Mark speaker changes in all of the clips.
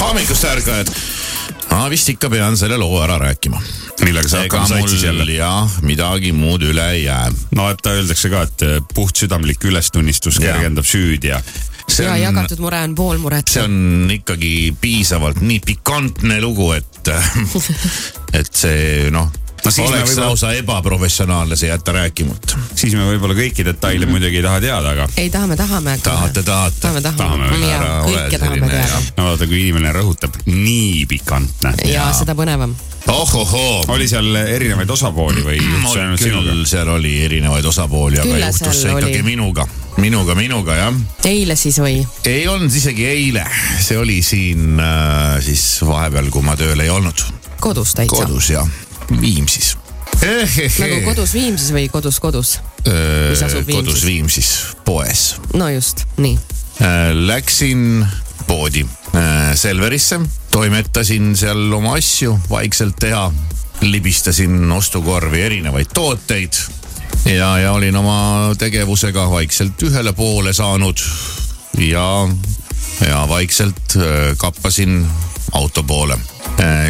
Speaker 1: hommikust ärkajad . ma vist ikka pean selle loo ära rääkima .
Speaker 2: millega sa hakkama said siis jälle ?
Speaker 1: jah , midagi muud üle ei jää .
Speaker 2: no et öeldakse ka , et eh, puhtsüdamlik ülestunnistus
Speaker 1: Jaa.
Speaker 2: kergendab süüd ja
Speaker 1: see
Speaker 3: ja
Speaker 1: on ,
Speaker 3: jagatud mure on pool muret .
Speaker 1: see on ikkagi piisavalt nii pikantne lugu , et , et see noh
Speaker 2: No siis
Speaker 1: no,
Speaker 2: me
Speaker 1: oleks
Speaker 2: võib-olla-
Speaker 1: võib lausa ebaprofessionaalne see jätta rääkimata .
Speaker 2: siis me võib-olla kõiki detaile
Speaker 1: Mhm.
Speaker 2: mm -hmm. muidugi ei taha teada , aga
Speaker 3: ei taha , me tahame .
Speaker 1: tahate , tahate ?
Speaker 3: tahame ,
Speaker 2: Tahame,
Speaker 3: tahame . ja
Speaker 1: ära ole
Speaker 3: kõike tahame
Speaker 1: selline,
Speaker 3: teada
Speaker 1: jah.
Speaker 2: no vaata , kui inimene rõhutab nii pikantne .
Speaker 3: ja seda põnevam .
Speaker 1: ohohoo ,
Speaker 2: oli seal erinevaid osapooli või üldse ainult sinuga ?
Speaker 1: Mm, küll seal oli erinevaid osapooli , aga
Speaker 3: Küll
Speaker 1: juhtus see
Speaker 3: seal
Speaker 1: ikkagi
Speaker 3: oli.
Speaker 1: minuga , minuga , minuga jah
Speaker 3: eile siis või ?
Speaker 1: ei olnud isegi eile , see oli siin äh, siis vahepeal , kui ma tööl ei olnud .
Speaker 3: kodus täitsa .
Speaker 1: kodus ja Viimsis .
Speaker 3: nagu kodus Viimsis või kodus kodus ? mis asub
Speaker 1: Äh,
Speaker 3: Viimsis?
Speaker 1: kodus Viimsis , poes .
Speaker 3: no just , nii .
Speaker 1: Äh, Läksin poodi äh, Selverisse , toimetasin seal oma asju vaikselt teha , libistasin ostukorvi erinevaid tooteid ja , ja olin oma tegevusega vaikselt ühele poole saanud ja , ja vaikselt äh, kappasin auto poole .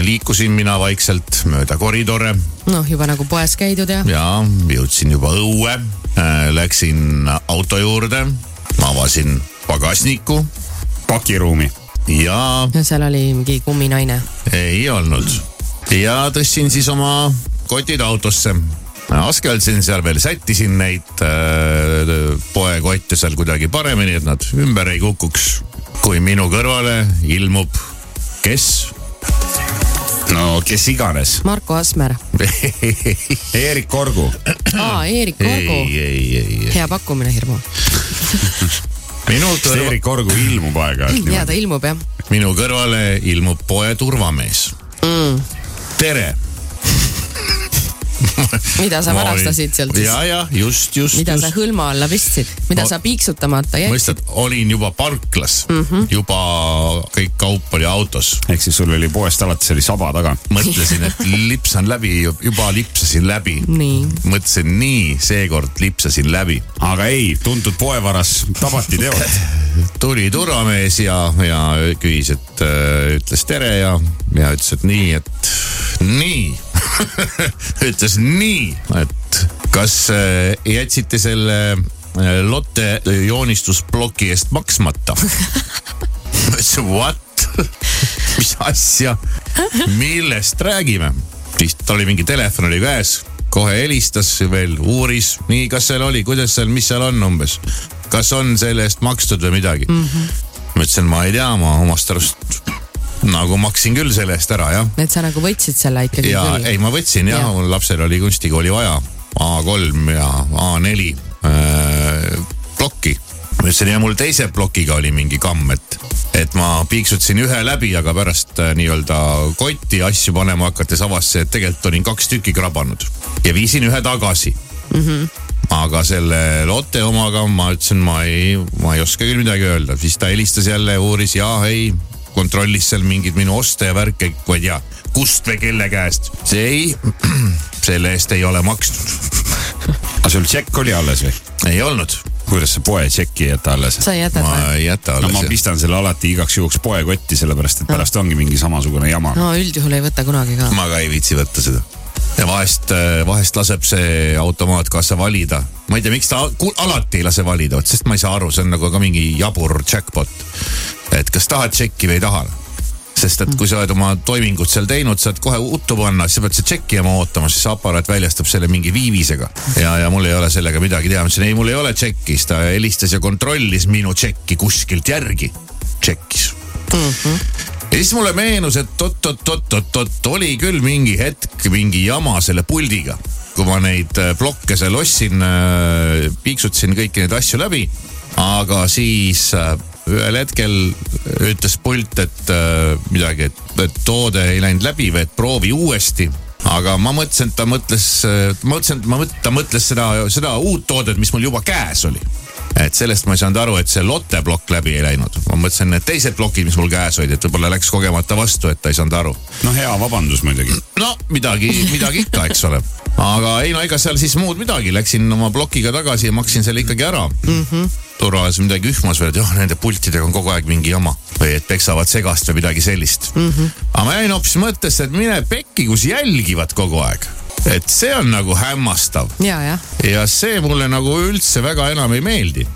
Speaker 1: liikusin mina vaikselt mööda koridore
Speaker 3: noh , juba nagu poes käidud ja .
Speaker 1: ja jõudsin juba õue , läksin auto juurde , avasin pagasniku
Speaker 2: pakiruumi .
Speaker 1: ja
Speaker 3: ja seal oli mingi kumminaine .
Speaker 1: ei olnud . ja tõstsin siis oma kotid autosse . askeldasin seal veel , sättisin neid äh, poekotte seal kuidagi paremini , et nad ümber ei kukuks . kui minu kõrvale ilmub , kes ?
Speaker 2: no kes iganes .
Speaker 3: Marko Asmer .
Speaker 1: ei ,
Speaker 2: Eerik Orgu .
Speaker 3: aa , Eerik Orgu .
Speaker 1: ei , ei , ei .
Speaker 3: hea pakkumine , hirmu .
Speaker 1: minu
Speaker 2: kas
Speaker 1: kõrval ,
Speaker 2: Eerik Orgu ilmub aeg-ajalt
Speaker 3: ja
Speaker 2: niimoodi ?
Speaker 3: ta ilmub jah .
Speaker 1: minu kõrvale ilmub poe turvamees mm. . tere
Speaker 3: mida sa
Speaker 1: Ma olin-
Speaker 3: varastasid sealt siis ?
Speaker 1: ja , ja just , just ,
Speaker 3: mida sa
Speaker 1: just .
Speaker 3: hõlma alla pistsid , mida
Speaker 1: Ma-
Speaker 3: sa piiksutamata jätsid ?
Speaker 1: mõistad , olin juba parklas mm , -hmm. juba kõik kaup oli autos .
Speaker 2: ehk siis sul oli poest alati , see oli saba taga .
Speaker 1: mõtlesin , et lipsan läbi , juba lipsasin läbi .
Speaker 3: nii .
Speaker 1: mõtlesin nii , seekord lipsasin läbi .
Speaker 2: aga ei , tuntud poevaras tabati teod .
Speaker 1: tuli turvamees ja , ja küsis , et äh, ütles tere ja , ja ütles , et nii , et nii . ütles nii , et kas äh, jätsite selle äh, Lotte joonistusploki eest maksmata ? ma ütlesin what ? mis asja , millest räägime ? siis tal oli mingi telefon oli käes , kohe helistas veel , uuris , nii , kas seal oli , kuidas seal , mis seal on umbes , kas on selle eest makstud või midagi mm . -hmm. ma ütlesin , ma ei tea , ma omast arust nagu maksin küll selle eest ära jah ,
Speaker 3: et sa nagu võtsid selle ikkagi
Speaker 1: ja
Speaker 3: küll .
Speaker 1: ei , ma võtsin jah ja.
Speaker 3: Jah. ,
Speaker 1: mul lapsel oli kunstikooli vaja A3 ja A4 äh, plokki ma ütlesin ja mul teise plokiga oli mingi kamm , et , et ma piiksutasin ühe läbi , aga pärast äh, nii-öelda kotti asju panema hakates avas see , et tegelikult olin kaks tükki krabanud ja viisin ühe tagasi mm . -hmm. aga selle Lotte omaga ma ütlesin , ma ei , ma ei oska küll midagi öelda , siis ta helistas jälle , uuris ja ei , kontrollis seal mingeid minu oste ja värke , ma ei tea , kust või kelle käest , see ei , selle eest ei ole maksnud ,
Speaker 2: aga sul tšekk oli alles või ?
Speaker 1: ei olnud ,
Speaker 2: kuidas sa poe tšekki ei jäta alles ?
Speaker 3: sa jätad
Speaker 1: ma
Speaker 3: või ?
Speaker 1: ei jäta
Speaker 2: no
Speaker 1: alles
Speaker 2: ma
Speaker 1: jah.
Speaker 2: pistan selle alati igaks juhuks poekotti , sellepärast et pärast ongi mingi samasugune jama .
Speaker 3: no üldjuhul ei võta kunagi ka .
Speaker 1: ma ka ei viitsi võtta seda . ja vahest , vahest laseb see automaatkassa valida . ma ei tea , miks ta ku- alati ei lase valida , vot sest ma ei saa aru , see on nagu ka mingi jabur jackpot . et kas tahad tšekki või ei taha sest et kui sa oled oma toimingud seal teinud , saad kohe uttu panna , siis sa pead see tšeki jama ootama , siis see aparaat väljastab selle mingi viivisega . ja , ja mul ei ole sellega midagi teha , ma ütlesin ei , mul ei ole tšekki , siis ta helistas ja kontrollis minu tšekki kuskilt järgi . tšekkis ja siis mulle meenus , et oot-oot-oot-oot-oot , oli küll mingi hetk , mingi jama selle puldiga . kui ma neid äh, plokke seal ostsin , piiksutasin kõiki neid asju läbi , aga siis äh, ühel hetkel ütles pult , et äh, midagi , et toode ei läinud läbi või et proovi uuesti aga ma mõtlesin , et ta mõtles , ma mõtlesin , et ma mõt- , ta mõtles seda , seda uut toodet , mis mul juba käes oli et sellest ma ei saanud aru , et see Lotte plokk läbi ei läinud . ma mõtlesin , need teised plokid , mis mul käes olid , et võib-olla läks kogemata vastu , et ta ei saanud aru .
Speaker 2: no hea vabandus muidugi .
Speaker 1: no midagi , midagi ikka , eks ole . aga ei no ega seal siis muud midagi , läksin oma plokiga tagasi ja maksin selle ikkagi ära mm . -hmm. turvalisus midagi ühmas või et jah , nende pultidega on kogu aeg mingi jama või et peksavad segast või midagi sellist mm . -hmm. aga ma jäin hoopis mõttesse , et mine pekki , kus jälgivad kogu aeg , et see on nagu hämmastav
Speaker 3: ja , jah ,
Speaker 1: ja see mulle nagu üldse väga enam ei meeldi .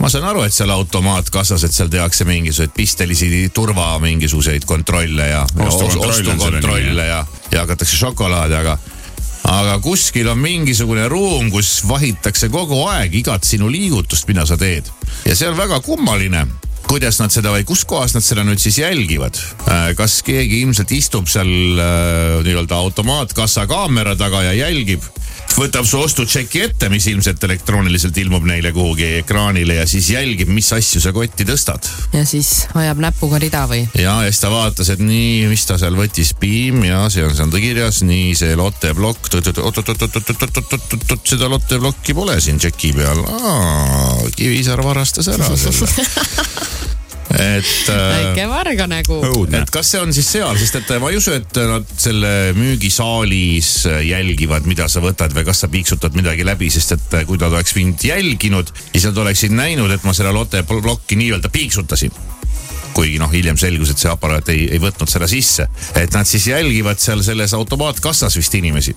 Speaker 1: ma saan aru , et seal automaatkassas , et seal tehakse mingisuguseid pistelisi turva mingisuguseid kontrolle ja ja os-
Speaker 2: Ostukontroll on selle
Speaker 1: ostukontrolle
Speaker 2: nimi,
Speaker 1: ja , ja hakatakse šokolaadi , aga aga kuskil on mingisugune ruum , kus vahitakse kogu aeg igat sinu liigutust , mida sa teed . ja see on väga kummaline , kuidas nad seda või kuskohas nad seda nüüd siis jälgivad . kas keegi ilmselt istub seal äh, nii-öelda automaatkassa kaamera taga ja jälgib , võtab su ostutšeki ette , mis ilmselt elektrooniliselt ilmub neile kuhugi ekraanile ja siis jälgib , mis asju sa kotti tõstad
Speaker 3: ja siis ajab näpuga rida või ?
Speaker 1: ja , ja siis ta vaatas , et nii , mis ta seal võttis , piim ja see on seal ta kirjas , nii see Lotte plokk , oot-oot-oot-oot-oot-oot-oot-oot-oot , seda Lotte plokki pole siin tšeki peal . Kivisaar varastas ära selle . et äh,
Speaker 3: väike varga nagu. nägu .
Speaker 2: õudne
Speaker 1: et . kas see on siis seal , sest et äh, ma ei usu , et nad selle müügisaalis äh, jälgivad , mida sa võtad või kas sa piiksutad midagi läbi , sest et äh, kui nad oleks mind jälginud , siis nad oleksid näinud , et ma selle Lotte pl- plokki nii-öelda piiksutasin kuigi noh , hiljem selgus , et see aparaat ei , ei võtnud seda sisse , et nad siis jälgivad seal selles automaatkassas vist inimesi .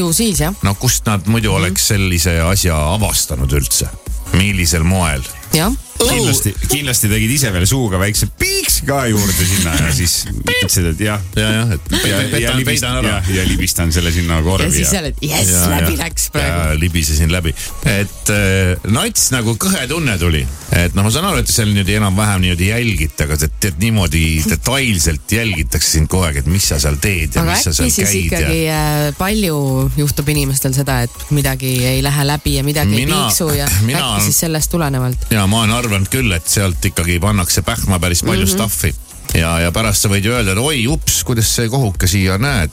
Speaker 3: ju siis jah ,
Speaker 1: no kust nad muidu
Speaker 2: Mhm.
Speaker 1: oleks sellise asja avastanud üldse , millisel moel ?
Speaker 3: jah .
Speaker 2: kindlasti , kindlasti tegid ise veel suuga väikse piiks ka juurde sinna ja siis ütlesid , et jah .
Speaker 1: ja , jah , et
Speaker 2: ja,
Speaker 1: petan ,
Speaker 2: ja,
Speaker 1: petan ,
Speaker 2: libistan-
Speaker 1: peidan ära
Speaker 2: ja, ja libistan selle sinna
Speaker 3: ja
Speaker 2: korvi
Speaker 3: siis sa
Speaker 2: ja,
Speaker 3: oled , jess , läbi läks praegu .
Speaker 1: ja libisesin läbi , et äh, nats nagu kõhe tunne tuli , et noh , ma saan aru , et seal niimoodi enam-vähem niimoodi jälgite , aga tead , tead niimoodi detailselt jälgitakse sind kogu aeg , et mis sa seal teed ja
Speaker 3: aga
Speaker 1: mis sa
Speaker 3: äkki
Speaker 1: seal
Speaker 3: siis
Speaker 1: käid
Speaker 3: ikkagi
Speaker 1: ja .
Speaker 3: ja... palju juhtub inimestel seda , et midagi ei lähe läbi ja midagi mina,
Speaker 1: Mina-
Speaker 3: ei piiksu ja
Speaker 1: mina
Speaker 3: äkki
Speaker 1: olen-
Speaker 3: siis sellest tulenevalt .
Speaker 1: ja ma olen arvanud küll , et sealt ikkagi pannakse pähma päris palju mm -hmm. stuff'i ja , ja pärast sa võid ju öelda , et oi ups , kuidas see kohuke siia näed ,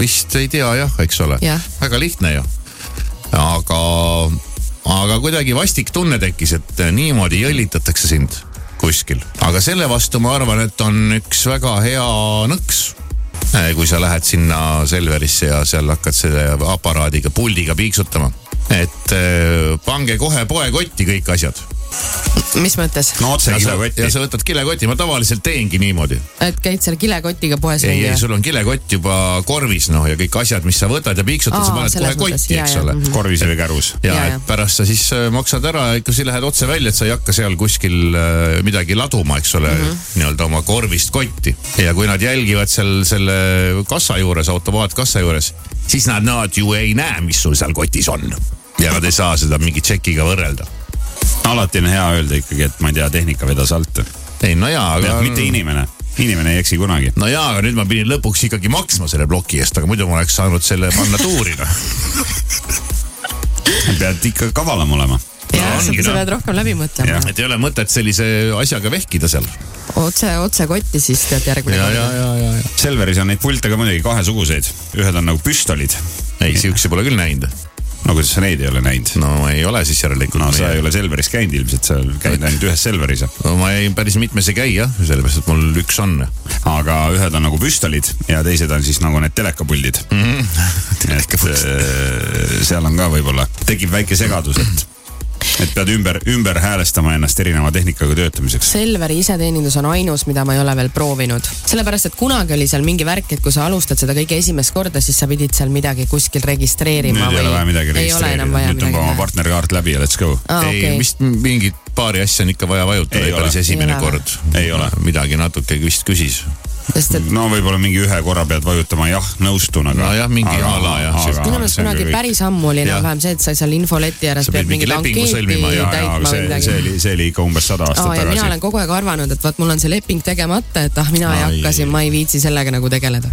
Speaker 1: vist ei tea jah , eks ole
Speaker 3: Jah. ,
Speaker 1: väga lihtne ju aga , aga kuidagi vastik tunne tekkis , et niimoodi jõllitatakse sind kuskil . aga selle vastu ma arvan , et on üks väga hea nõks . kui sa lähed sinna Selverisse ja seal hakkad selle aparaadiga , puldiga piiksutama . et eh, pange kohe poekotti kõik asjad .
Speaker 3: mis mõttes ,
Speaker 2: no otse
Speaker 1: ja sa
Speaker 2: kilekotti
Speaker 1: ja . sa võtad kilekoti , ma tavaliselt teengi niimoodi .
Speaker 3: et käid seal kilekotiga poes
Speaker 1: ei ,
Speaker 3: ringi
Speaker 1: ei
Speaker 3: ja
Speaker 1: sul on kilekott juba korvis noh ja kõik asjad , mis sa võtad ja piiksutad , sa
Speaker 3: Aa,
Speaker 1: paned
Speaker 3: selles
Speaker 1: kohe
Speaker 3: mõttes,
Speaker 1: kotti ,
Speaker 3: jaa,
Speaker 1: eks
Speaker 3: jaa,
Speaker 1: ole
Speaker 3: mhm.
Speaker 2: korvis või kärus .
Speaker 1: ja,
Speaker 3: Jaa,
Speaker 1: ja
Speaker 3: jaa.
Speaker 1: et pärast sa siis äh, maksad ära ja ikka siis lähed otse välja , et sa ei hakka seal kuskil äh, midagi laduma , eks ole
Speaker 3: Mhm.
Speaker 1: mm -hmm. , nii-öelda oma korvist kotti . ja kui nad jälgivad seal selle kassa juures , automaatkassa juures , siis nad , nad ju ei näe , mis sul seal kotis on . ja nad ei saa seda mingi tšekiga võrrelda .
Speaker 2: alati on hea öelda ikkagi , et ma ei tea , tehnika vedas alt .
Speaker 1: ei no jaa , aga .
Speaker 2: mitte inimene , inimene ei eksi kunagi .
Speaker 1: no jaa , aga nüüd ma pidin lõpuks ikkagi maksma selle ploki eest , aga muidu ma oleks saanud selle panna tuurina .
Speaker 2: pead ikka kavalam olema .
Speaker 3: ja
Speaker 1: No
Speaker 3: sa,
Speaker 1: ongi,
Speaker 3: sa
Speaker 1: noh.
Speaker 3: pead rohkem läbi mõtlema
Speaker 2: Jah. .
Speaker 1: et ei ole mõtet sellise asjaga vehkida seal .
Speaker 3: otse , otse kotti siis tead järgmine
Speaker 1: ja , ja ,
Speaker 3: kord .
Speaker 1: ja , ja , ja .
Speaker 2: Selveris on neid pulte ka muidugi kahesuguseid , ühed on nagu püstolid .
Speaker 1: ei , siukse pole küll näinud .
Speaker 2: no kuidas sa neid ei ole näinud ?
Speaker 1: no ei ole siis järelikult .
Speaker 2: no sa ei ole Selveris käinud ilmselt , sa käid ainult ühes Selveris .
Speaker 1: no ma jäin päris mitmes ei käi jah , sellepärast et mul üks on .
Speaker 2: aga ühed on nagu püstolid ja teised on siis nagu need telekapuldid mm .
Speaker 3: Mhm.
Speaker 2: -hmm. et äh, seal on ka võib-olla , tekib väike segadus , et , et pead ümber , ümber häälestama ennast erineva tehnikaga töötamiseks .
Speaker 3: Selveri iseteenindus on ainus , mida ma ei ole veel proovinud . sellepärast , et kunagi oli seal mingi värk , et kui sa alustad seda kõige esimest korda , siis sa pidid seal midagi kuskil
Speaker 2: nüüd
Speaker 3: registreerima
Speaker 2: ei ole vaja midagi
Speaker 3: ei ole
Speaker 2: registreerida
Speaker 3: enam , vaja
Speaker 2: nüüd tõmba oma
Speaker 3: midagi .
Speaker 2: partnerkaart läbi ja let's go .
Speaker 3: Aa,
Speaker 1: ei
Speaker 3: okei.
Speaker 1: okay. , vist mingit paari asja on ikka vaja vajutada
Speaker 2: Ah, Ei ,
Speaker 1: päris
Speaker 2: ole.
Speaker 1: esimene
Speaker 3: Ei ole.
Speaker 1: kord .
Speaker 2: Ei ole.
Speaker 1: midagi natuke vist küsis .
Speaker 3: sest et
Speaker 2: no võib-olla mingi ühe korra pead vajutama jah , nõustun , aga .
Speaker 1: Nojah, mingi a la jah, sihuke.
Speaker 3: minu meelest kunagi päris ammu oli enam-vähem see , et sa seal infoleti ääres
Speaker 1: Sa
Speaker 3: pead
Speaker 1: pidid mingi
Speaker 3: mingit
Speaker 1: lepingu
Speaker 3: ankeeti
Speaker 1: sõlmima ja-
Speaker 2: ja , ja ,
Speaker 3: täitma
Speaker 2: aga
Speaker 3: või
Speaker 2: see , see
Speaker 3: midagi .
Speaker 2: oli , see oli ikka umbes sada aastat
Speaker 3: Aa, ja mina olen
Speaker 2: tagasi .
Speaker 3: kogu aeg arvanud , et vot mul on see leping tegemata , et ah , mina ei
Speaker 1: Ai.
Speaker 3: hakka siin , ma ei viitsi sellega nagu tegeleda .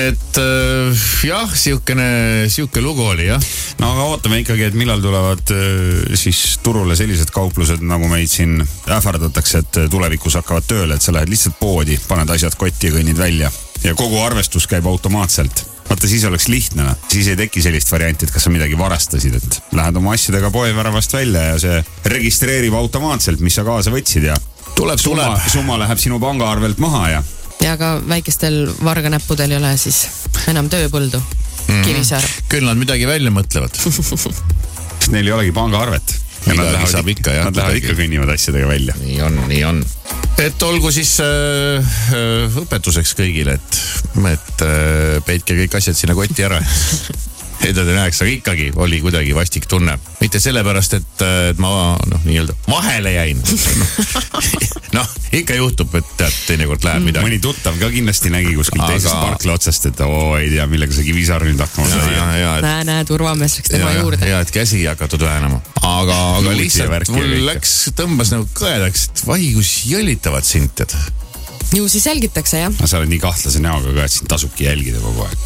Speaker 1: et äh, jah , siukene , siuke lugu oli jah .
Speaker 2: no aga ootame ikkagi , et millal tulevad äh, siis turule sellised kauplused , nagu meid siin ähvardatakse , et äh, tulevikus hakkavad tööle , et sa lähed lihtsalt poodi , paned asjad kotti ja kõnnid välja ja kogu arvestus käib automaatselt vaata siis oleks lihtne , siis ei teki sellist varianti , et kas sa midagi varastasid , et lähed oma asjadega poeväravast välja ja see registreerib automaatselt , mis sa kaasa võtsid ja
Speaker 1: tuleb ,
Speaker 2: summa
Speaker 1: tuleb .,
Speaker 2: summa läheb sinu pangaarvelt maha ja
Speaker 3: ja ka väikestel varganäppudel ei ole siis enam tööpõldu
Speaker 2: Mhm.
Speaker 3: mm. . Kivisaar .
Speaker 1: küll nad midagi välja mõtlevad .
Speaker 2: sest neil ei olegi pangaarvet . ja nad
Speaker 1: Midagi
Speaker 2: lähevad
Speaker 1: saab ikka, jah,
Speaker 2: Nad lähevad
Speaker 1: kuidagi.
Speaker 2: ikka kõnnivad asjadega välja .
Speaker 1: nii on , nii on . et olgu siis äh, äh, õpetuseks kõigile , et , et äh, peitke kõik asjad sinna kotti ära . enda te näeks , aga ikkagi oli kuidagi vastik tunne . mitte sellepärast , et , et ma noh , nii-öelda vahele jäin . noh , ikka juhtub , et tead , teinekord läheb midagi .
Speaker 2: Mm. mõni tuttav ka kindlasti nägi kuskilt
Speaker 1: Aga-
Speaker 2: Aga... teisest parkla otsast , et oo , ei tea , millega see Kivisaar nüüd hakkama
Speaker 1: ja ,
Speaker 2: sai .
Speaker 1: ja , ja , et
Speaker 3: näe , näe , turvamees läks tema
Speaker 1: ja,
Speaker 3: juurde .
Speaker 1: ja , et käsi ei hakatud väänama , aga , aga
Speaker 2: Juudi ja
Speaker 1: lihtsalt
Speaker 2: värki ja
Speaker 1: mul
Speaker 2: kõike.
Speaker 1: läks , tõmbas nagu kõedaks , et vai kus jõllitavad sind tead .
Speaker 3: ju siis jälgitakse jah .
Speaker 2: no sa oled nii kahtlase näoga ka , et sind tasubki jälgida kogu aeg .